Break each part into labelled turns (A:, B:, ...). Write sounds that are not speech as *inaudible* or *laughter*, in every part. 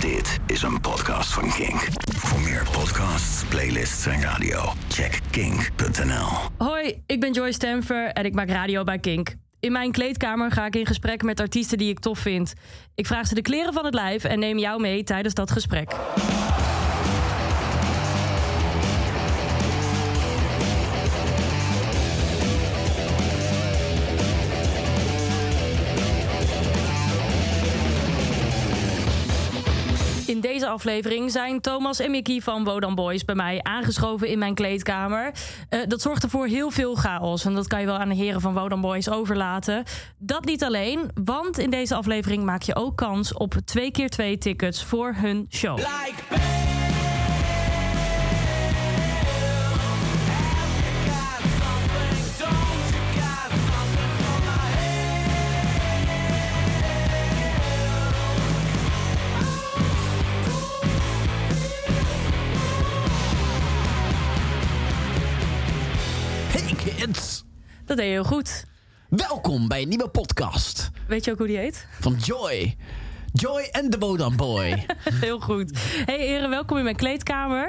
A: Dit is een podcast van Kink. Voor meer podcasts, playlists en radio, check kink.nl.
B: Hoi, ik ben Joy Stamfer en ik maak radio bij Kink. In mijn kleedkamer ga ik in gesprek met artiesten die ik tof vind. Ik vraag ze de kleren van het lijf en neem jou mee tijdens dat gesprek. In deze aflevering zijn Thomas en Mickey van Wodan Boys bij mij aangeschoven in mijn kleedkamer. Eh, dat zorgde voor heel veel chaos. En dat kan je wel aan de heren van Wodan Boys overlaten. Dat niet alleen, want in deze aflevering maak je ook kans op 2 keer 2 tickets voor hun show.
C: Hey kids!
B: Dat deed je heel goed.
C: Welkom bij een nieuwe podcast
B: Weet je ook hoe die heet?
C: van Joy. Joy en de Wodan Boy.
B: *laughs* Heel goed. Hey heren, welkom in mijn kleedkamer. Eh,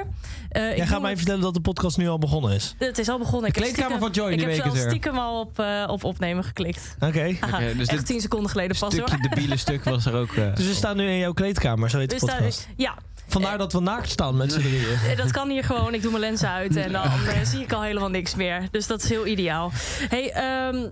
B: ik
D: Jij
B: doe
D: gaat mij
B: het-
D: vertellen dat de podcast nu al begonnen is.
B: Het is al begonnen. Ik heb
E: kleedkamer
B: stiekem-
E: van Joy,
B: Ik
E: die
B: heb
E: week
B: zelfs
E: is er.
B: stiekem al op, eh, op opnemen geklikt.
D: Oké.
B: Haha,
E: dus
B: echt
E: dit
B: tien seconden geleden pas hoor.
E: stukje debiele stuk was er ook.
C: *laughs*
E: eh,
D: Dus we staan nu in jouw kleedkamer, zo heet de
B: Dus daar-
D: podcast.
B: ja,
D: Vandaar dat we naakt staan met z'n drieën.
B: Eh, Dat kan hier gewoon. Ik doe mijn lenzen uit en dan eh, zie ik al helemaal niks meer. Dus dat is heel ideaal. Hey, ehm,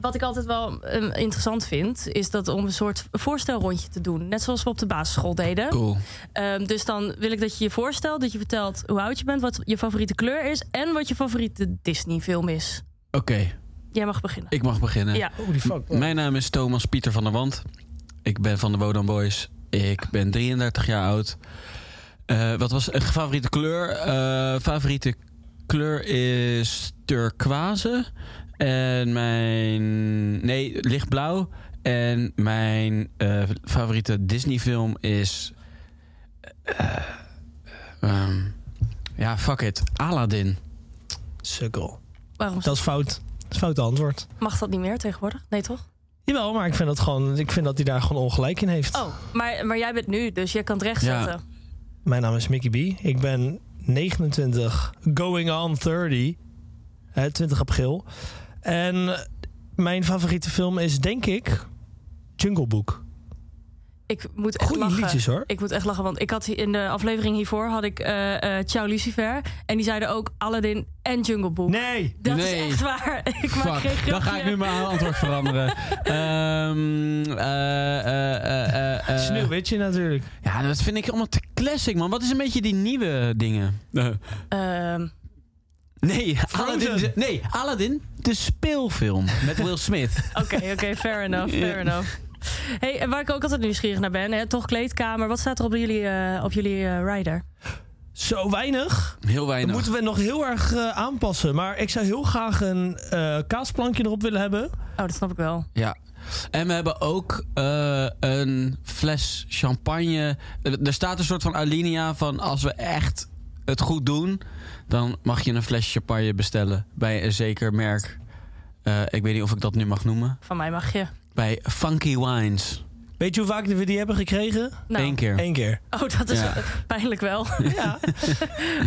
B: wat ik altijd wel ehm, interessant vind, is dat om een soort voorstelrondje te doen. Net zoals we op de basisschool deden.
E: Cool.
B: Ehm, dus dan wil ik dat je je voorstelt, dat je vertelt hoe oud je bent, wat je favoriete kleur is en wat je favoriete Disney-film is.
E: Oké,
B: Jij mag beginnen.
E: ik mag beginnen.
B: Ja.
D: Holy fuck.
E: Mijn naam is Thomas Pieter van der Wand. Ik ben van de Wodan Boys. Ik ben 33 jaar oud. Eh, wat was een favoriete kleur? Eh, favoriete kleur is turquoise. En mijn. Nee, lichtblauw. En mijn eh, favoriete Disney-film is. eh, ehm, ja, fuck it. Aladdin.
D: Sukkel.
B: Waarom
D: Dat is fout. Dat is een fout antwoord.
B: mag dat niet meer tegenwoordig? Nee, toch?
D: Jawel, maar ik vind dat gewoon, ik vind dat hij daar gewoon ongelijk in heeft.
B: Oh, maar, maar jij bent nu, dus jij kan het recht
E: Ja.
B: zetten.
D: Mijn naam is Mickey B. Ik ben 29, going on 30. Eh, 20 april. En mijn favoriete film is denk ik Jungle Book.
B: Ik moet echt
D: Goeie
B: lachen.
D: liedjes hoor.
B: Ik moet echt lachen, want ik had hier- in de aflevering hiervoor had ik eh eh Ciao Lucifer. En die zeiden ook Aladdin en Jungle Book.
D: Nee.
B: Dat
E: Nee.
B: is echt waar. *laughs* Ik maak geen
E: Fuck,
B: grapje.
E: dan ga ik nu mijn antwoord
B: *laughs*
E: veranderen. Ehm eh, eh, eh, eh, eh.
D: Sneeuwwitje natuurlijk.
E: Ja, dat vind ik allemaal te classic, man. Wat is een beetje die nieuwe dingen?
B: Eh. Ehm,
E: nee, Aladdin, nee, Aladdin, de speelfilm met Will
B: *laughs*
E: Smith.
B: Oké, oké, fair enough, fair
E: *laughs* Ja.
B: enough. Hey, en waar ik ook altijd nieuwsgierig naar ben, hè, toch kleedkamer. Wat staat er op jullie, eh, op jullie eh, rider?
D: Zo weinig.
E: Heel weinig.
D: Dat moeten we nog heel erg eh, aanpassen. Maar ik zou heel graag een eh, kaasplankje erop willen hebben.
B: Oh, dat snap ik wel.
E: Ja. En we hebben ook eh, een fles champagne. Eh, Er er staat een soort van alinea van als we echt het goed doen, dan mag je een fles champagne bestellen bij een zeker merk. Eh, ik weet niet of ik dat nu mag noemen.
B: Van mij mag je.
E: Bij Funky Wines.
D: Weet je hoe vaak we die hebben gekregen?
B: Nou.
E: Eén keer.
D: Eén keer.
B: Oh, dat is
E: Ja.
B: pijnlijk wel. *laughs*
D: Ja.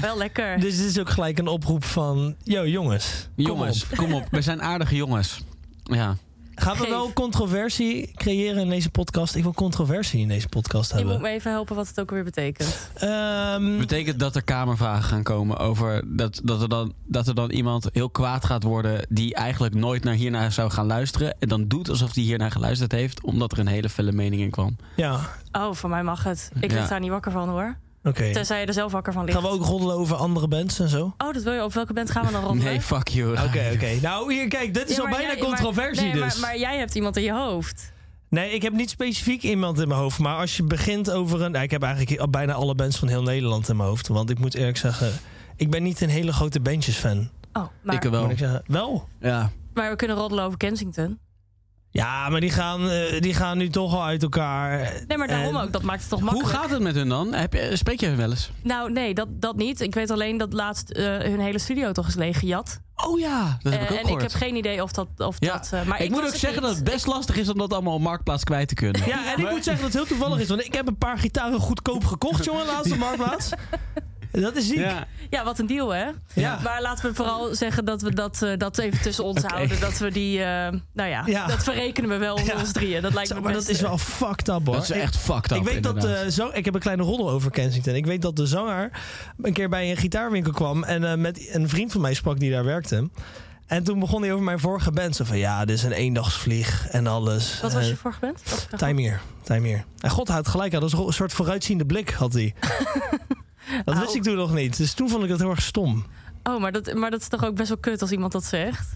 B: wel lekker.
D: dus dit is ook gelijk een oproep van... Yo jongens, kom
E: jongens,
D: op.
E: kom op. We zijn aardige jongens. Ja.
D: Gaan we
B: Geef.
D: wel controversie creëren in deze podcast? Ik wil controversie in deze podcast
B: Je moet
D: hebben.
B: me even helpen wat het ook weer betekent. Mm.
D: Ehm,
E: Betekent dat er kamervragen gaan komen over dat, dat, er dan, dat er dan iemand heel kwaad gaat worden die eigenlijk nooit naar hiernaar zou gaan luisteren. En dan doet alsof hij hiernaar geluisterd heeft, omdat er een hele felle mening in kwam.
D: ja,
B: Oh, van mij mag het. Ik lig
E: Ja.
B: daar niet wakker van hoor.
D: oké.
B: Tenzij je er zelf wakker van ligt.
D: Gaan we ook roddelen over andere bands en zo?
B: Oh, dat wil je. Op welke band gaan we dan roddelen?
E: Nee, fuck you.
D: Oké, oké. Nou, hier, kijk, dit is
B: Ja,
D: al
B: maar
D: bijna
B: jij- maar-
D: controversie
B: nee, maar-
D: dus.
B: Maar, jij hebt iemand in je hoofd.
D: Nee, ik heb niet specifiek iemand in mijn hoofd. Maar als je begint over een. Nou, Ik heb eigenlijk al bijna alle bands van heel Nederland in mijn hoofd. Want ik moet eerlijk zeggen. Ik ben niet een hele grote bandjes fan.
B: Oh, maar,
E: Ik wel.
D: Moet ik zeggen. Wel?
E: Ja.
B: maar we kunnen roddelen over Kensington.
D: Ja, maar die gaan, eh, die gaan nu toch al uit elkaar.
B: Nee, maar daarom
D: En-
B: ook. Dat maakt het toch
E: Hoe
B: makkelijk.
E: gaat het met hun dan? Heb je, spreek je hun wel eens?
B: Nou, nee, dat, dat niet. Ik weet alleen dat laatst eh, hun hele studio toch is leeggejat.
E: Oh ja, dat heb ik
B: Eh,
E: ook
B: en ik
E: gehoord.
B: heb geen idee of dat. Of
E: Ja,
B: dat eh, maar
E: ik, moet
B: was
E: ook
B: het
E: zeggen
B: niet.
E: dat het best lastig is om dat allemaal op Marktplaats kwijt te kunnen.
D: Ja, en ik moet zeggen dat het heel toevallig is. Want ik heb een paar gitaren goedkoop gekocht, jongen, laatst op Marktplaats. Dat is ziek.
E: Ja.
B: Ja, wat een deal, hè?
D: Ja.
B: Maar laten we vooral zeggen dat we dat, eh, dat even tussen ons houden. Dat we die, eh, nou ja,
D: Ja.
B: dat verrekenen we wel onder
D: Ja.
B: ons drieën. Dat lijkt me
D: maar
B: best,
D: dat is wel fucked up, hoor.
E: Dat is
D: Ik-
E: echt fucked up,
D: Ik weet dat
B: eh,
E: inderdaad.
D: de zo, ik heb een kleine roddel over Kensington. Ik weet dat de zanger een keer bij een gitaarwinkel kwam en eh, met een vriend van mij sprak die daar werkte. En toen begon hij over mijn vorige band. Zo van ja, dit is een eendagsvlieg en alles.
B: eh, Wat was
D: Eh,
B: je vorige band? Wat-
D: Tijmeer, Tijmeer. En God had gelijk, hij had een soort vooruitziende blik
B: *laughs*
D: had hij. dat wist
B: Au.
D: ik toen nog niet. Dus toen vond ik dat heel erg stom.
B: Oh, maar dat, maar dat is toch ook best wel kut als iemand dat zegt?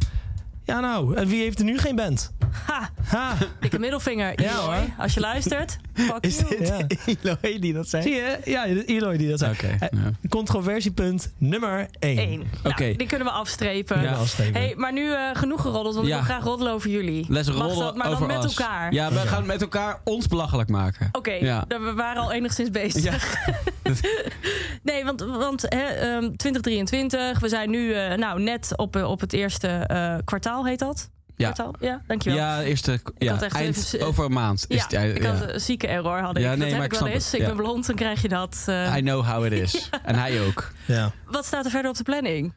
D: Ja nou, en wie heeft er nu geen band?
B: Ha, *laughs*
D: Ha,
B: dikke middelvinger.
D: Ja,
B: Eloy.
D: hoor.
B: Als je luistert, fuck you.
D: Ja.
E: *laughs* Eloy die dat zei?
D: zie je? Ja, Eloy die dat zei.
E: Oké.
B: Eh,
E: ja.
D: Controversiepunt nummer 1.
B: Eén. Nou,
E: Oké.
B: die kunnen we afstrepen.
E: Ja.
B: Hey, maar nu eh, genoeg geroddeld, want
E: Ja.
B: ik wil graag roddelen over jullie.
E: Let's
B: Mag
E: rollen
B: dat, maar
E: over
B: dan met
E: us.
B: elkaar. Oh,
E: Ja, we gaan met elkaar ons belachelijk maken.
B: Oké,
E: Ja.
B: daar- we waren al enigszins bezig.
E: Ja.
B: Nee, want, want hè, ehm, 2023, we zijn nu eh, nou, net op, eh, op het eerste eh, kwartaal, heet dat?
E: Ja.
B: Kwartaal? Ja, dankjewel.
E: Ja, eerste,
B: had
E: ja
B: echt
E: eind,
B: even-
E: over een maand. Is
B: Ja,
E: het, eind-
B: ik
E: ja.
B: had een zieke error, had ik.
E: Ja,
B: dat
E: nee,
B: heb
E: maar
B: ik
E: ik
B: wel
E: snap
B: eens.
E: het.
B: Ik
E: Ja.
B: ben blond, dan krijg je dat. eh.
E: I know how it
B: *laughs*
E: is. en hij ook.
D: Ja.
B: Wat staat er verder op de planning?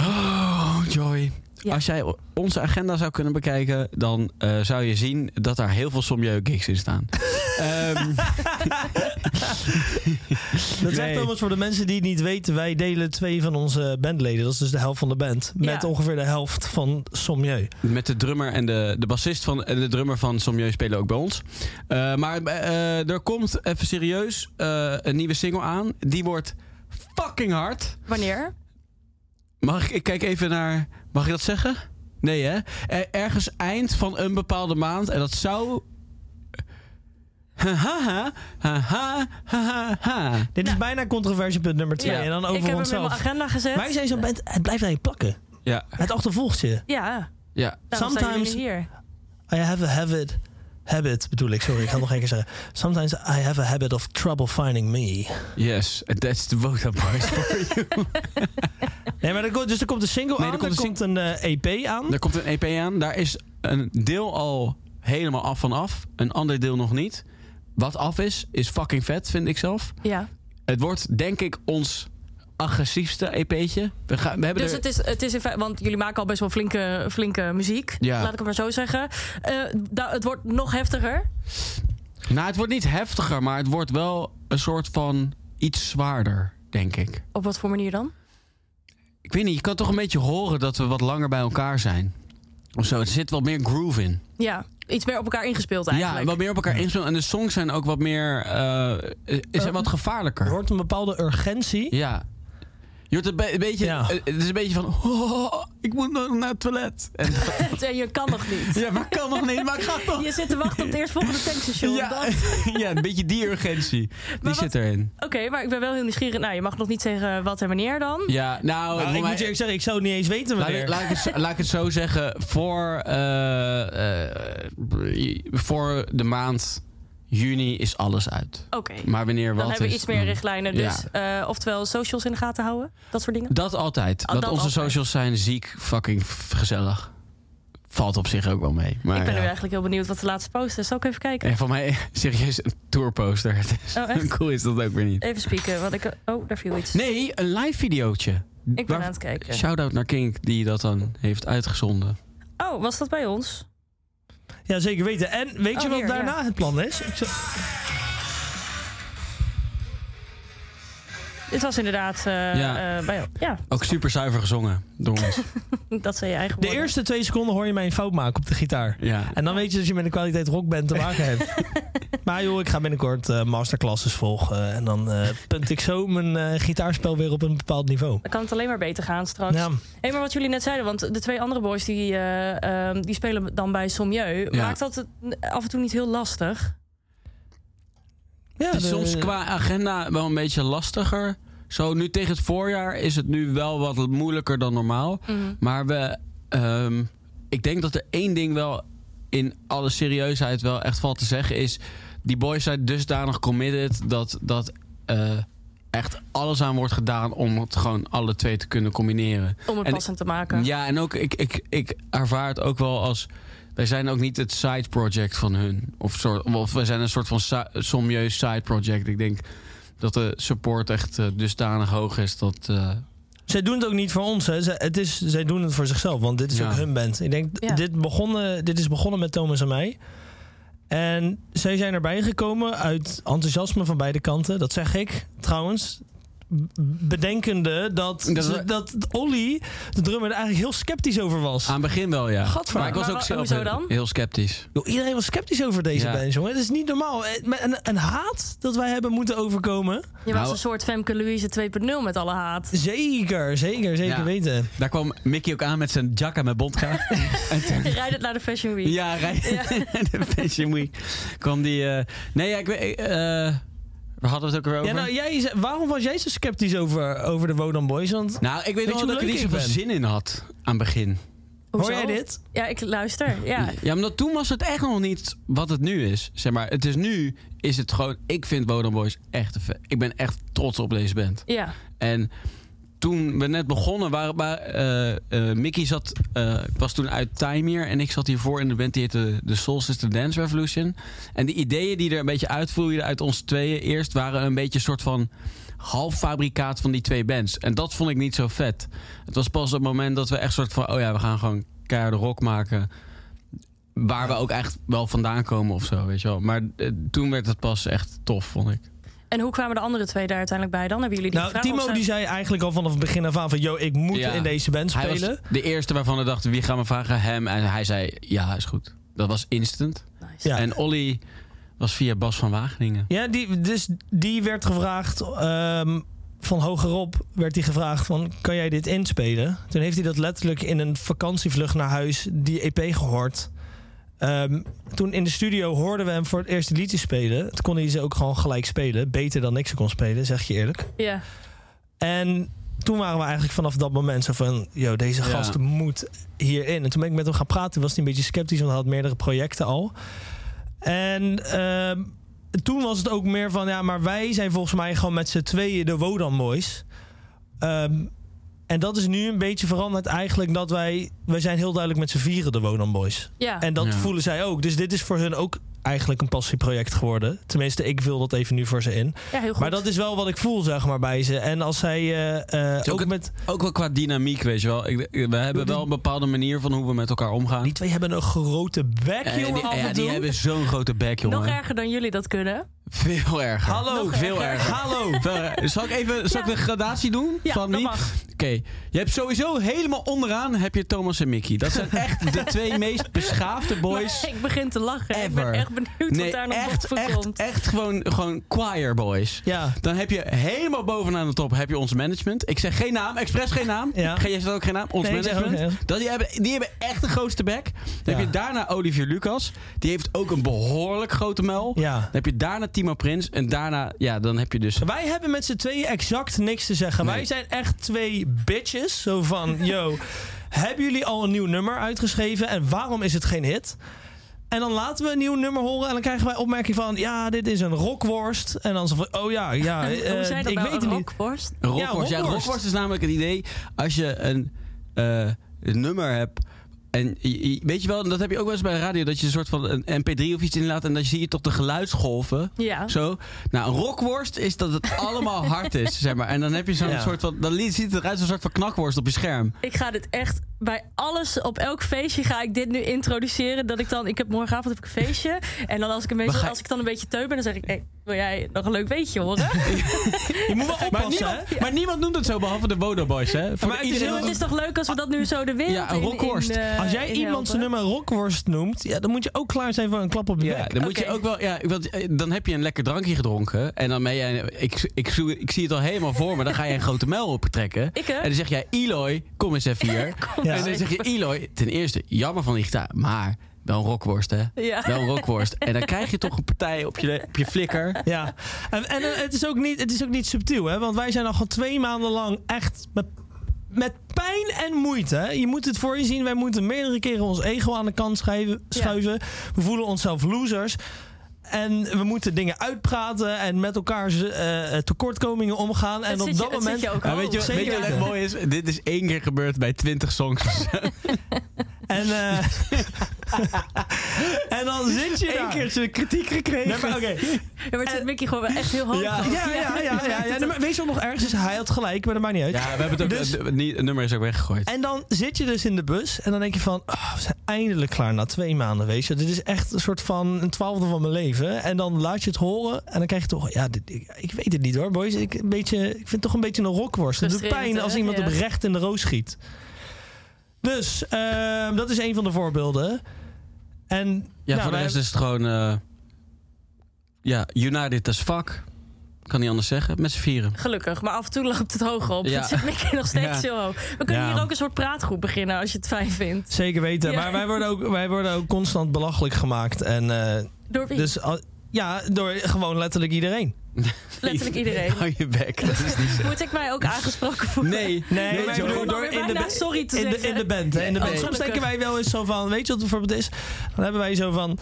E: Oh, Joy.
B: Ja.
E: Als jij onze agenda zou kunnen bekijken, dan eh, zou je zien dat daar heel veel somjeu gigs in staan. Ehm,
D: Dat
E: Nee.
D: zegt Thomas voor de mensen die het niet weten. Wij delen twee van onze bandleden. Dat is dus de helft van de band. Met
B: Ja.
D: ongeveer de helft van Sommieu.
E: met de drummer en de, de bassist van en de drummer van Somjeu spelen ook bij ons. Eh, maar eh, er komt even serieus eh, een nieuwe single aan. Die wordt fucking hard.
B: Wanneer?
E: Mag ik, ik kijk even naar. Mag ik dat zeggen? Nee, hè? Er- ergens eind van een bepaalde maand. En dat zou. Ha ha ha. Ha ha ha ha.
D: Dit is bijna controversiepunt nummer twee.
B: Nou. Ja.
D: En dan
B: ik heb
D: over
B: hem in
D: onszelf.
B: mijn agenda gezet.
D: Wij zijn zo'n band. Het blijft aan je plakken.
E: Ja,
D: Het achtervolgt je.
B: Ja,
E: ja.
B: daarom
D: Sometimes-
B: zijn jullie hier.
D: I have a habit. Habit bedoel ik. Sorry, ik ga het nog één keer zeggen. Sometimes I have a habit of trouble finding me.
E: Yes, and that's the Voda Boys for you.
D: Nee, maar er komt, dus er komt een single
E: Nee, er
D: aan.
E: komt
D: Er
E: een
D: komt een eh, EP aan.
B: Hm?
E: Er komt een EP aan. Daar is een deel al helemaal af van af. Een ander deel nog niet. Wat af is, is fucking vet, vind ik zelf.
B: Ja.
E: Het wordt, denk ik, ons agressiefste EP'tje. We, gaan, we hebben
B: Dus
E: er...
B: het is, het is in feite, want jullie maken al best wel flinke, flinke muziek.
E: Ja.
B: Laat ik het maar zo zeggen. Eh, da- het wordt nog heftiger.
E: Nou, het wordt niet heftiger, maar het wordt wel een soort van iets zwaarder, denk ik.
B: Op wat voor manier dan?
E: Ik weet niet, je kan toch een beetje horen dat we wat langer bij elkaar zijn. Of zo, er zit wat meer groove in.
B: Ja, iets meer op elkaar ingespeeld eigenlijk.
E: Ja, wat meer op elkaar inspelen. En de songs zijn ook wat meer, eh, zijn wat
D: Er
E: gevaarlijker.
D: hoort een bepaalde urgentie. Nou,
E: Ja. Je hoort een, be- een beetje,
D: Ja.
E: eh, het is een beetje van, "Oh, ik moet nog naar het toilet. En, *laughs*
B: En eh, je kan nog niet.
E: ja, maar kan nog niet, maar ik ga toch.
B: Je zit te wachten op het eerstvolgende tankstation. Dat-
E: Ja, *laughs* ja, een beetje die urgentie. Die
B: wat-
E: zit erin.
B: Oké, maar ik ben wel heel nieuwsgierig. Nou, je mag nog niet zeggen wat en wanneer dan.
E: Ja, nou,
D: Nou,
E: voor
D: ik
E: mij-
D: moet je eerlijk zeggen, ik zou het niet eens weten
E: Laat,
D: wanneer.
E: ik- laat ik het, zo- laat ik het zo zeggen. Voor, eh, eh, voor de maand juni is alles uit.
B: Oké.
E: Maar wanneer wat
B: Dan hebben we
E: is, mm.
B: iets meer
E: dan-
B: richtlijnen. Dus eh, oftewel socials in de gaten houden. Dat soort dingen.
E: Dat altijd.
B: Oh,
E: dat
B: dat
E: onze
B: altijd.
E: socials zijn ziek fucking f- gezellig. Valt op zich ook wel mee. Maar
B: ik ben
E: ja.
B: nu eigenlijk heel benieuwd wat de laatste post is. Zal ik even kijken?
E: En voor mij *laughs* serieus een tourposter. *laughs* Het is-
B: Oh, echt? Eh.
E: cool is dat ook weer niet.
B: Even spieken. Want ik... Oh, daar viel iets.
E: Nee, een live videootje.
B: ik ben aan het kijken.
E: Shout-out naar Kink die dat dan heeft uitgezonden.
B: Oh, was dat bij ons?
D: Ja, zeker weten. En weet
B: Oh,
D: je wat
B: hier,
D: daarna het plan is? Ik zou-
B: Dit was inderdaad eh,
E: Ja.
B: eh, bij ons. Ja,
E: Ook super zuiver gezongen door
B: *laughs*
E: ons.
B: dat zei je eigen
D: De
B: woorden.
D: eerste twee seconden hoor je mij een fout maken op de gitaar.
E: ja.
D: En dan weet je dat je met een kwaliteit rock bent te maken
E: *laughs*
D: hebt. maar joh, ik ga binnenkort eh, masterclasses volgen. En dan eh, punt ik zo mijn eh, gitaarspel weer op een bepaald niveau.
B: Dan kan het alleen maar beter gaan straks.
D: Ja,
B: Hé, maar wat jullie net zeiden, want de twee andere boys die, eh, ehm, die spelen dan bij Sommieu.
E: Ja.
B: Maakt dat het af en toe niet heel lastig?
D: ja
E: Het is
D: de-
E: Dus soms qua agenda wel een beetje lastiger. Zo nu tegen het voorjaar is het nu wel wat moeilijker dan normaal.
D: Mhm.
E: Maar we, ehm, ik denk dat er één ding wel in alle serieusheid wel echt valt te zeggen is... die boys zijn dusdanig committed dat, dat eh, echt alles aan wordt gedaan om het gewoon alle twee te kunnen combineren.
B: Om het
E: En-
B: passend te maken.
E: Ja, en ook ik, ik, ik ervaar het ook wel als. Wij zijn ook niet het side project van hun. Of, soort, of wij zijn een soort van sa- somieus side project. Ik denk dat de support echt eh, dusdanig hoog is dat. eh,
D: Zij doen het ook niet voor ons. Hè. Zij, het is, zij doen het voor zichzelf, want dit is
E: Ja.
D: ook hun band. Ik denk,
B: Ja.
D: dit, begonnen, dit is begonnen met Thomas en mij. En zij zijn erbij gekomen uit enthousiasme van beide kanten. Dat zeg ik trouwens. b- Bedenkende dat,
E: Dat
D: dat,
E: we-
D: Olly, de drummer, er eigenlijk heel sceptisch over was.
E: aan het begin wel, ja.
D: Gadver.
E: Maar ik was
B: Maar
E: ook
B: wa-
E: zelf
B: hoezo
E: heel-
B: dan?
E: heel sceptisch.
D: Joh, iedereen was sceptisch over deze
E: Ja.
D: band, jongen. Het is niet normaal. Eh, maar Een, een haat dat wij hebben moeten overkomen.
B: Je was
E: Nou-
B: een soort Femke Louise 2.0 met alle *laughs* haat.
D: Zeker, zeker, zeker
E: Ja.
D: weten.
E: Daar kwam Mickey ook aan met zijn jacka met *laughs* bondka. en toen-
B: Je rijdt het naar de Fashion Week.
E: Ja, rij- *laughs* de Fashion Week kwam die... eh, nee, ja, ik weet... eh waar hadden we het ook weer over?
D: Ja, nou, jij, zei- waarom was jij zo sceptisch over, over de Wodan Boys? Want
E: Nou, ik weet,
D: je
E: nog wel
D: hoe
E: dat ik er
D: leuk
E: niet
D: ik
E: zoveel
D: ben?
E: zin in had aan het begin.
B: Hoezo?
D: hoor jij dit?
B: Ja, ik luister. Ja.
E: Ja, maar toen was het echt nog niet wat het nu is. Zeg maar, het is nu, is het gewoon... Ik vind Wodan Boys echt... een ve- Ik ben echt trots op deze band.
B: Ja.
E: En toen we net begonnen, waren, waren, eh, eh, Mickey zat, eh, ik was toen uit Timeer en ik zat hiervoor in de band die heette The Soul Sister Dance Revolution. En de ideeën die er een beetje uitvloeiden uit ons tweeën eerst waren een beetje een soort van halffabrikaat van die twee bands. En dat vond ik niet zo vet. Het was pas op het moment dat we echt soort van, oh ja, we gaan gewoon keiharde rock maken. Waar we ook echt wel vandaan komen of zo, weet je wel. Maar eh, toen werd het pas echt tof, vond ik.
B: En hoe kwamen de andere twee daar uiteindelijk bij dan? Hebben jullie die
D: Nou,
B: gevraagd?
D: Timo
B: Of
D: die
B: zijn-
D: zei eigenlijk al vanaf het begin af aan van... yo, ik moet
E: Ja.
D: in deze band
E: Hij
D: spelen.
E: was de eerste waarvan we dachten, wie gaan we vragen? Hem. En hij zei, ja, is goed. Dat was instant.
B: Nice.
D: Ja.
E: En Olly was via Bas van Wageningen.
D: Ja, die, dus die werd gevraagd... ehm, van hogerop werd hij gevraagd van... kan jij dit inspelen? Toen heeft hij dat letterlijk in een vakantievlucht naar huis... die EP gehoord. Ehm, toen in de studio hoorden we hem voor het eerst de liedjes spelen. Toen kon hij ze ook gewoon gelijk spelen. Beter dan ik ze kon spelen, zeg je eerlijk.
B: Ja.
D: En toen waren we eigenlijk vanaf dat moment zo van... Yo, deze
E: Ja.
D: gast moet hierin. En toen ben ik met hem gaan praten. Toen was hij een beetje sceptisch, want hij had meerdere projecten al. En ehm, toen was het ook meer van... Ja, maar wij zijn volgens mij gewoon met z'n tweeën de Wodan Boys. Ehm, en dat is nu een beetje veranderd eigenlijk dat wij... Wij zijn heel duidelijk met z'n vieren de Wodan Boys.
B: Ja.
D: En dat
E: Ja.
D: voelen zij ook. Dus dit is voor hun ook eigenlijk een passieproject geworden. Tenminste, ik vul dat even nu voor ze in.
B: ja, heel goed.
D: Maar dat is wel wat ik voel, zeg maar, bij ze. En als zij eh, eh,
E: ook
D: ook
E: het-
D: met...
E: Ook wel qua dynamiek, weet je wel. Ik, we hebben wel een bepaalde manier van hoe we met elkaar omgaan.
D: Die twee hebben een grote bek,
E: Eh,
D: jongen,
E: die,
D: af
E: ja,
D: en
E: die
D: toe.
E: hebben zo'n grote bek, jongen.
B: Nog erger dan jullie dat kunnen.
E: Veel erger.
D: Hallo,
B: Nog
E: Veel erger.
D: hallo.
E: *laughs* Veel erger. Zal ik even zal
B: Ja.
E: ik de gradatie doen?
B: Ja,
E: van
B: dat
E: wie?
B: mag.
E: Oké, je hebt sowieso helemaal onderaan heb je Thomas en Mickey. Dat zijn echt de twee meest beschaafde boys.
B: Maar *laughs* ik begin te lachen. Ik
E: Ever.
B: ben echt benieuwd wat daar nog
E: echt,
B: boven
E: echt,
D: eh,
B: komt.
E: echt gewoon, gewoon choir boys.
D: Ja,
E: Dan heb je helemaal bovenaan de top heb je ons management. Ik zeg geen naam, expres geen naam.
D: Ja.
E: Geen, jij zegt ook geen naam, ons
D: Nee, ik zeg ook
E: management.
D: geen.
E: Dat, die, hebben, die hebben echt de grootste bek. Dan
D: Ja.
E: heb je daarna Olivier Lucas. Die heeft ook een behoorlijk grote muil.
D: ja.
E: Dan heb je daarna Timo Prins. En daarna, ja, dan heb je dus...
D: Wij hebben met z'n tweeën exact niks te zeggen.
E: Nee.
D: Wij zijn echt twee bitches. Zo van, yo, hebben jullie al een nieuw nummer uitgeschreven? En waarom is het geen hit? En dan laten we een nieuw nummer horen en dan krijgen wij opmerking van... ja, dit is een rockworst. En dan zo van, oh
B: *laughs*
D: ja, ja, eh,
B: Hoe zei dat
D: ik
B: nou?
D: weet
B: een
D: het niet.
B: rockworst?
E: Een Rockworst. Ja,
D: Ja,
E: een
D: rockworst.
E: rockworst is namelijk het idee als je een eh, een nummer hebt. En je- je- weet je wel, dat heb je ook wel eens bij de radio, dat je een soort van een MP3 of iets inlaat en dan zie je toch de geluidsgolven.
B: Ja.
E: Zo. Nou, een rockworst is
B: *laughs*
E: dat het allemaal hard is, zeg maar. En dan heb je zo'n
D: Ja.
E: soort van, dan li- ziet het eruit als een soort van knakworst op je scherm.
B: Ik ga dit echt bij alles, op elk feestje ga ik dit nu introduceren. Dat ik dan, ik heb morgenavond heb ik een feestje. En dan als ik, een beetje,
E: Maar ga-
B: als ik dan een beetje teu ben, dan zeg ik, hey, wil jij nog een leuk weetje
D: *laughs*
B: horen?
D: Je moet wel
E: Maar
D: oppassen, hè?
E: niemand, maar niemand noemt het zo, behalve de Bodo Boys, hè? Voor
D: Maar het is
E: iedereen.
B: Zo, het is toch leuk als we dat nu zo de wereld
E: Ja, een
B: in- in,
E: rockworst.
B: eh,
D: Als jij
B: in
D: iemand zijn
B: helpen.
D: nummer rockworst noemt, ja, dan moet je ook klaar zijn voor een klap op de
E: Ja,
D: bek.
E: dan moet je
B: Oké.
E: ook wel. Ja, want eh, dan heb je een lekker drankje gedronken. En dan ben jij. Ik, ik, zoe- ik zie het al helemaal voor me. Dan ga *laughs* je een grote muil optrekken.
B: Ik, hè?
E: En dan zeg jij, Eloy, kom eens even hier.
B: *laughs* Kom
D: Ja.
E: En
B: eens
E: dan
B: even.
E: zeg je, Eloy, ten eerste, jammer van die gitaar. Maar wel een rockworst, hè?
B: Ja.
E: Wel een rockworst.
B: *laughs*
E: En dan krijg je toch een partij op je, op je flikker.
D: Ja, en, en eh, het, is ook niet, het is ook niet subtiel, hè? Want wij zijn al gewoon twee maanden lang echt met, met pijn en moeite. Hè? Je moet het voor je zien, wij moeten meerdere keren ons ego aan de kant schrijven, schuiven. We voelen onszelf losers. En we moeten dingen uitpraten en met elkaar eh, tekortkomingen omgaan. En
B: Het
D: op
B: zit je-
D: dat
B: het zit
D: moment.
B: je ook
E: Ja,
B: al.
E: weet je, wat-
D: zeker
E: weet je wat echt
D: weten.
E: mooi is? Dit is één keer gebeurd bij 20 songs.
D: En, eh, *laughs* en dan zit je daar.
E: keertje kritiek gekregen.
D: Nee, maar
B: *laughs*
D: oké. Eh,
B: Ja, maar het zit Mickey gewoon wel echt heel hoog.
D: Ja,
B: hoog.
D: ja, ja,
B: *laughs*
D: ja, ja, ja. Nee, maar Weet je wat nog ergens is? Hij had gelijk, maar dat maakt niet uit.
E: Ja, we hebben het ook.
D: Dus-
E: eh, niet- het nummer is ook weggegooid.
D: En dan zit je dus in de bus en dan denk je van... ah, we zijn eindelijk klaar na twee maanden, weet je. Dit is echt een soort van een twaalfde van mijn leven. En dan laat je het horen en dan krijg je toch... Ja, dit, ik, ik weet het niet hoor, boys. Ik, een beetje, ik vind het toch een beetje een rockworst. Het doet
B: Frustrerend,
D: pijn als
B: hè?
D: iemand
B: Ja.
D: oprecht in de roos schiet. Dus, ehm, dat is een van de voorbeelden. En
E: Ja,
D: nou,
E: voor de
D: wij-
E: rest is het gewoon. eh, ja, United as fuck. Kan niet anders zeggen. Met z'n vieren.
B: Gelukkig, maar af en toe loopt het hoog op.
E: Ja.
B: Het zit Mickey nog steeds
E: Ja.
B: heel hoog. We kunnen
D: Ja.
B: hier ook een soort praatgroep beginnen als je het fijn vindt.
D: Zeker weten.
B: Ja.
D: Maar wij worden, ook, wij worden ook constant belachelijk gemaakt. En eh,
B: Door wie?
D: dus... al- ja, door gewoon letterlijk iedereen.
B: Letterlijk iedereen.
E: Hou je bek. *laughs* Dat is niet zo.
B: Moet ik mij ook aangesproken voelen?
E: Nee.
D: Nee, maar ik
E: zo-
D: bedoel,
B: Om dan
D: door
B: weer
D: in de,
B: bijna sorry te
D: in de,
B: zeggen.
D: in de band. Hè, in de
B: Oh,
D: band. Soms
B: gelukkig.
D: denken wij wel eens zo van, weet je wat het bijvoorbeeld is? Dan hebben wij zo van,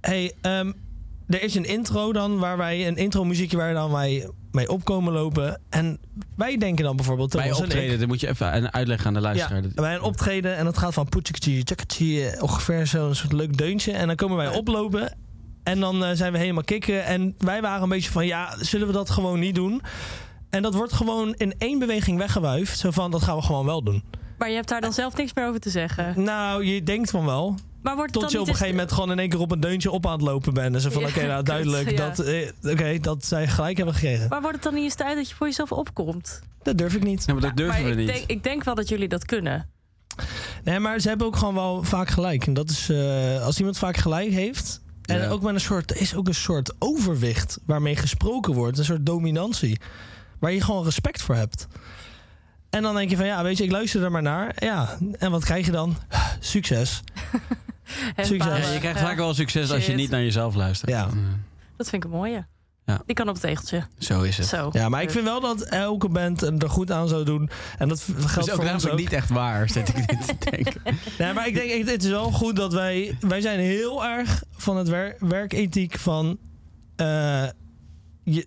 D: hey, ehm, er is een intro dan, waar wij een intro muziekje waar dan wij mee opkomen lopen. En wij denken dan bijvoorbeeld,
E: Bij
D: Thomas en ik,
E: optreden, dan moet je even een- uitleggen aan de luisteraar.
D: ja,
E: Dat-
D: bij een optreden en dat gaat van poetsikatje, tjakatje, ongeveer zo'n soort leuk deuntje. En dan komen wij oplopen en dan eh, zijn we helemaal kikken. En wij waren een beetje van, ja, zullen we dat gewoon niet doen? En dat wordt gewoon in één beweging weggewuifd. Zo van, dat gaan we gewoon wel doen.
B: Maar je hebt daar dan zelf niks meer over te zeggen.
D: Nou, je denkt van wel.
B: Maar wordt het
D: Tot je
B: dan
D: op een
B: niet
D: gegeven
B: eens-
D: moment gewoon in één keer op een deuntje op aan het lopen bent. En zo van,
B: Ja,
D: oké, nou
B: kut,
D: duidelijk
B: ja.
D: dat, eh, oké, dat zij gelijk hebben gekregen.
B: Maar wordt het dan niet eens tijd dat je voor jezelf opkomt?
D: Dat durf ik niet.
E: Ja, maar dat durven
B: maar
E: we
B: ik
E: niet.
B: Denk, ik denk wel dat jullie dat kunnen.
D: Nee, maar ze hebben ook gewoon wel vaak gelijk. En dat is, eh, als iemand vaak gelijk heeft... En
E: Ja.
D: ook met een soort, er is ook een soort overwicht waarmee gesproken wordt. Een soort dominantie. Waar je gewoon respect voor hebt. En dan denk je van, ja, weet je, ik luister er maar naar. Ja, en wat krijg je dan? Succes.
B: Hè,
D: Succes.
B: balen.
E: Ja, je krijgt
B: Ja,
E: vaak wel succes als je
B: Shit.
E: niet naar jezelf luistert.
D: Ja.
B: Dat vind ik een mooie.
E: Ja.
B: Die kan op het tegeltje.
E: Zo is het.
B: Zo.
D: Ja, maar ik vind wel dat elke band er goed aan zou doen. En dat geldt
E: Dat is ook
D: voor ons
E: namelijk
D: ook.
E: niet echt waar, zit ik nu *laughs* te denken.
D: Nee, maar ik denk, ik- het is wel goed dat wij... Wij zijn heel erg van het wer- werkethiek van... eh, je,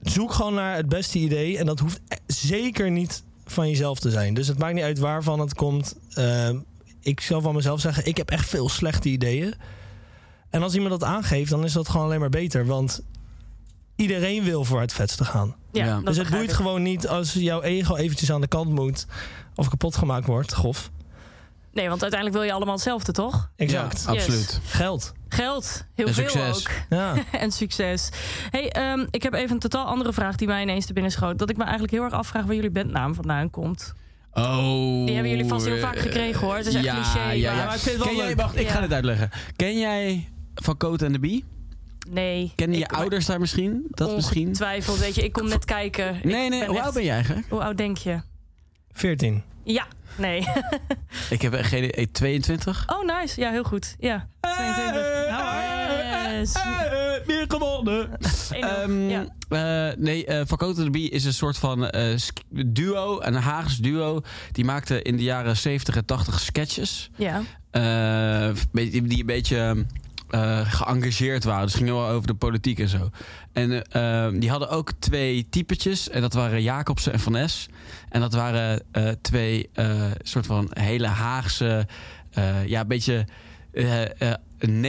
D: zoek gewoon naar het beste idee. En dat hoeft e- zeker niet van jezelf te zijn. Dus het maakt niet uit waarvan het komt. Ehm, ik zal van mezelf zeggen, ik heb echt veel slechte ideeën. En als iemand dat aangeeft, dan is dat gewoon alleen maar beter. Want iedereen wil voor het vetste gaan.
B: Ja,
E: Ja.
B: dat
D: dus het
B: begrijp
D: boeit
B: ik.
D: gewoon niet als jouw ego eventjes aan de kant moet... of kapot gemaakt wordt, grof.
B: Nee, want uiteindelijk wil je allemaal hetzelfde, toch?
D: Exact.
E: Ja, absoluut.
D: Geld.
B: Geld. Heel
E: En
B: veel
E: succes.
B: ook. *laughs*
D: Ja.
B: en succes. Hey, ehm, ik heb even een totaal andere vraag die mij ineens te binnen schoot. Dat ik me eigenlijk heel erg afvraag waar jullie bandnaam vandaan komt.
E: Oh.
B: Die hebben jullie vast heel
E: eh,
B: vaak gekregen, hoor. Het is echt
E: ja,
B: cliché,
E: Ja,
B: maar-
E: ja.
B: Ja,
D: maar ik vind het wel
E: Ken jij,
D: leuk.
E: wacht, ik
B: Ja.
E: ga dit uitleggen. Ken jij van Coat en de Bee?
B: Nee.
E: Kennen je
B: Ik-
E: ouders daar misschien? Dat misschien?
B: Ongetwijfeld, weet je. Ik kom net kijken. Ik
E: Nee, nee.
B: ben
E: Hoe
B: echt-
E: oud ben jij eigenlijk?
B: Hoe oud denk je?
D: 14.
B: Ja, nee. *laughs*
E: Ik heb echt geen idee. 22?
B: Oh, nice. Ja, heel goed. Ja. 22.
E: Eh,
B: Nou, Yes.
E: Meer gewonnen.
B: 1-0.
E: Ehm,
B: ja.
E: nee, eh, Van Coat en de Bee is een soort van eh, sk- duo, een Haags duo. Die maakte in de jaren 70 en 80 sketches.
B: ja.
E: eh, die die een beetje eh geëngageerd waren. Dus het ging wel over de politiek en zo. En eh, eh, die hadden ook twee typetjes. En dat waren Jacobsen en Van Es. En dat waren eh, twee eh, soort van hele Haagse... eh, ja, een beetje eh, eh,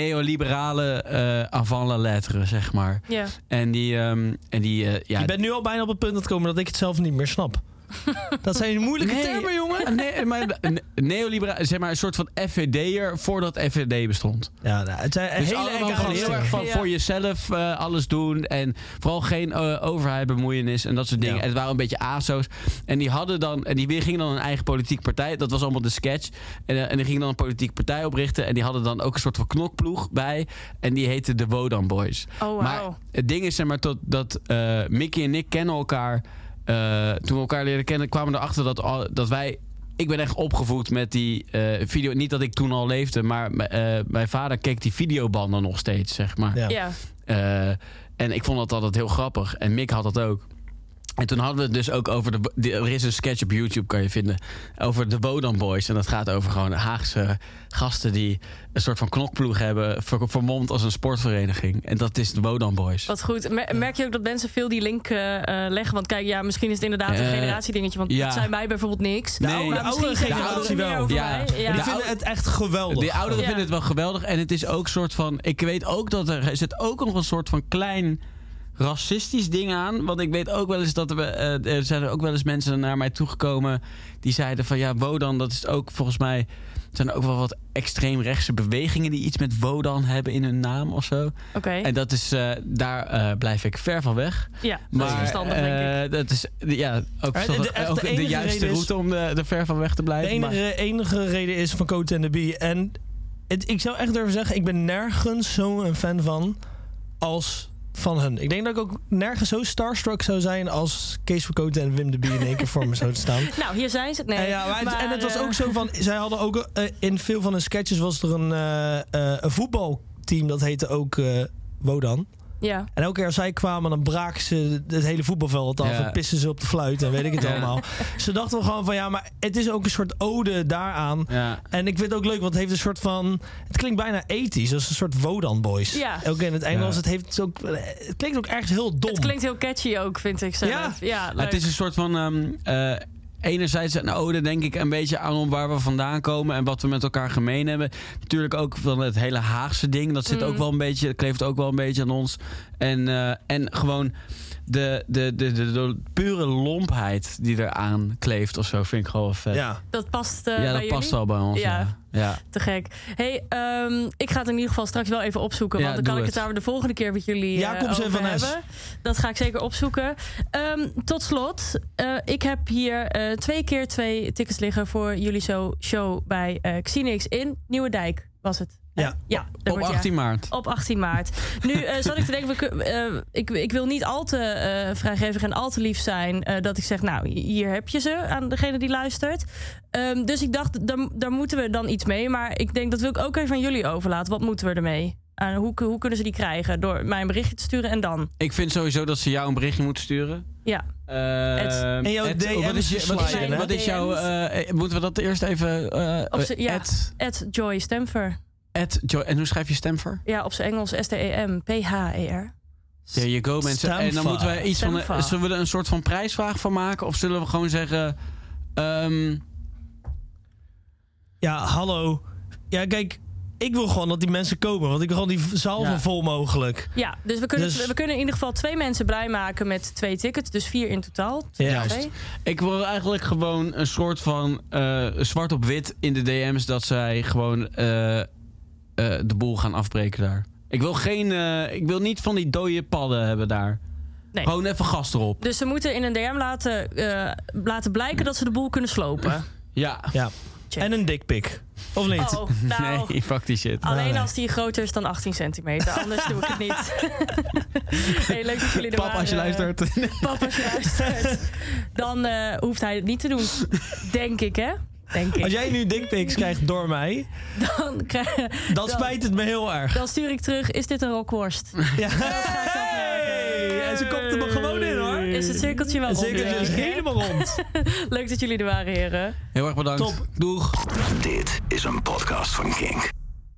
E: neoliberale eh avant la lettre, zeg maar.
B: Ja.
E: En die... ehm, en die eh, ja,
D: Je bent nu al bijna op het punt dat komen dat ik het zelf niet meer snap. dat zijn moeilijke
E: Nee.
D: termen, jongen.
E: Nee, maar een neoliberaal, zeg maar een soort van FVD'er voordat FVD bestond.
D: Ja, nou, het zijn
E: Dus
D: hele
E: allemaal
D: enge
E: gewoon heel
D: gasten.
E: erg van
B: Ja.
E: voor jezelf eh, alles doen. En vooral geen eh, overheid bemoeienis en dat soort dingen.
D: Ja.
E: En het waren een beetje ASO's. En die hadden dan, en die gingen dan een eigen politieke partij. Dat was allemaal de sketch. En, eh, en die gingen dan een politieke partij oprichten. En die hadden dan ook een soort van knokploeg bij. En die heette de Wodan Boys.
B: Oh,
E: Maar
B: wauw.
E: het ding is zeg maar tot, dat eh, Mickey en ik kennen elkaar. eh, toen we elkaar leren kennen, kwamen we erachter dat, al- dat wij. Ik ben echt opgevoed met die eh, video. Niet dat ik toen al leefde, maar m- eh, mijn vader keek die videobanden nog steeds, zeg maar.
D: Ja.
B: Ja.
E: Eh, en ik vond dat altijd heel grappig. En Mick had dat ook. En toen hadden we het dus ook over de. de- Er is een sketch op YouTube, kan je vinden. Over de Bodan Boys. En dat gaat over gewoon Haagse gasten die een soort van knokploeg hebben. ver- vermomd als een sportvereniging. En dat is de Bodan Boys.
B: Wat goed. Mer- Merk je ook dat mensen veel die link eh, eh, leggen? Want kijk, ja, misschien is het inderdaad een
E: Eh,
B: generatiedingetje. Want
E: ja.
B: dat zijn wij bijvoorbeeld niks.
E: Nee,
B: Maar
E: de
B: misschien
D: oudere
B: geven
E: generatie
B: ouderen meer
D: wel.
B: over
E: Ja.
B: mij.
E: Die
B: Ja.
D: Die
E: Ja.
D: vinden het echt geweldig.
E: Die ouderen
B: Ja.
E: vinden het wel geweldig. En het is ook soort van. Ik weet ook dat er, er zit ook nog een soort van klein racistisch ding aan. Want ik weet ook wel eens dat er, eh, er zijn er ook wel eens mensen naar mij toegekomen. die zeiden van ja, Wodan, dat is ook volgens mij. zijn er ook wel wat extreemrechtse bewegingen die iets met Wodan hebben in hun naam of zo.
B: Oké.
E: En dat is, eh, daar eh, blijf ik ver van weg.
B: Ja, dat
E: Maar
B: is verstandig, denk ik.
E: eh, dat is ja, ook,
D: de-
E: verstandig.
D: echt de
E: Ook de,
D: enige
E: juiste
D: reden is-
E: route om eh, er ver van weg te
D: De
E: blijven. maar-
D: enige, enige reden is van Coat en de Bee. En het, ik zou echt durven zeggen, ik ben nergens zo'n fan van als van hun. Ik denk dat ik ook nergens zo starstruck zou zijn als Kees van Coat en Wim de Bie in één keer voor me zouden staan.
B: Nou, hier zijn ze. Nee,
D: En, ja, maar het- en het was
B: eh,
D: ook zo van, zij hadden ook eh, in veel van hun sketches was er een, eh, eh, een voetbalteam dat heette ook eh, Wodan.
B: Ja.
D: En elke keer als zij kwamen, dan braken ze het hele voetbalveld af.
E: Ja.
D: En pissen ze op de fluit en weet ik het
E: Ja.
D: allemaal. Ze dachten wel gewoon van ja, maar het is ook een soort ode daaraan.
E: ja.
D: En ik vind het ook leuk, want het heeft een soort van. Het klinkt bijna ethisch, als een soort Wodan Boys.
B: Ja.
D: Ook in het Engels.
E: Ja.
D: Het, heeft ook, eh, het klinkt ook ergens heel dom.
B: Het klinkt heel catchy ook, vind ik zelf. Ja,
D: Ja.
E: Maar
B: leuk.
E: het is een soort van. ehm, eh, enerzijds een ode, denk ik, een beetje aan waar we vandaan komen en wat we met elkaar gemeen hebben. Natuurlijk ook van het hele Haagse ding. Dat zit
B: Mm.
E: ook wel een beetje, dat kleeft ook wel een beetje aan ons. En, eh, en gewoon de, de, de, de, de pure lompheid die eraan kleeft of zo, vind ik gewoon wel vet.
D: Ja.
B: Dat past eh, bij
E: Ja, dat past
B: jullie?
E: wel bij ons.
B: Ja.
E: Ja. Ja.
B: Te gek. hey, ehm, ik ga het in ieder geval straks wel even opzoeken.
E: Ja,
B: want dan
E: doe
B: kan ik het
E: het.
B: daar de volgende keer met jullie eh,
D: Jacobs en
B: over
D: Van Es.
B: hebben. Dat ga ik zeker opzoeken. Ehm, tot slot, eh, ik heb hier eh, twee keer twee tickets liggen voor jullie show, show bij eh, Xenix in Nieuwedijk. Was het?
D: Ja.
B: Eh, ja dat
E: Op
B: wordt ja.
E: 18 maart.
B: Op 18 maart. Nu eh, zat ik te denken, we kun- eh, ik, ik wil niet al te eh, vrijgevig en al te lief zijn... eh, dat ik zeg, nou, hier heb je ze aan degene die luistert. Ehm, dus ik dacht, daar, daar moeten we dan iets mee. Maar ik denk, dat wil ik ook even aan jullie overlaten. Wat moeten we ermee? En hoe, hoe kunnen ze die krijgen? Door mij een berichtje te sturen en dan.
E: Ik vind sowieso dat ze jou een berichtje moeten sturen.
B: Ja.
E: Eh,
B: Het-
D: En jouw
E: het-
D: DM's
E: wat is je- wat is je-
B: sliden, hè?
E: Wat is jouw... eh, moeten we dat eerst even... eh,
B: Op z'n- ja.
E: at-
B: At Joy Stemfer.
E: At Jo- en hoe schrijf je Stemfer?
B: Ja, op zijn Engels E S-T-E-M-P-H-E-R.
E: There you go, mensen. En dan
D: Stemfer.
E: moeten wij iets van...
B: Stemfer.
E: een- zullen we er een soort van prijsvraag van maken? Of zullen we gewoon zeggen... ehm,
D: Ja, hallo. Ja, kijk, ik wil gewoon dat die mensen komen. Want ik wil gewoon die zaal
E: Ja.
D: zo vol mogelijk.
B: Ja, dus we kunnen,
D: Dus-
B: we kunnen in ieder geval twee mensen blij maken met twee tickets. Dus vier in totaal.
D: Ja.
B: Juist.
E: ik wil eigenlijk gewoon een soort van eh, zwart op wit in de DM's... dat zij gewoon eh, eh, de boel gaan afbreken daar. Ik wil, geen, eh, ik wil niet van die dode padden hebben daar.
B: Nee.
E: Gewoon even gas erop.
B: Dus ze moeten in een DM laten, eh, laten blijken dat ze de boel kunnen slopen.
E: Ja.
D: Ja.
B: Check.
D: En een dikpik. Of niet?
B: Oh, nou.
E: *laughs* Nee, fuck die shit.
B: Alleen
D: nee.
B: als die groter is dan 18 centimeter. Anders doe ik het niet. hey, leuk dat jullie er
E: Pap, als je
B: waren.
E: luistert.
B: Pap, als je luistert. Dan eh, hoeft hij het niet te doen. Denk ik, hè? Denk ik.
D: Als jij nu dikpiks krijgt door mij,
B: Dan, krijg-
D: dan spijt het me heel erg.
B: dan stuur ik terug, is dit een rookworst?
D: *laughs* Ja.
B: ga ik afwerken.
D: Hey, En ze kopte me gewoon in hoor.
B: Is het cirkeltje wel rond?
D: Zeker,
B: denk
D: is
B: ik, hè?
D: helemaal rond.
B: Leuk dat jullie er waren, heren.
E: Heel erg bedankt.
D: Top.
E: Doeg.
A: Dit is een podcast van Kink.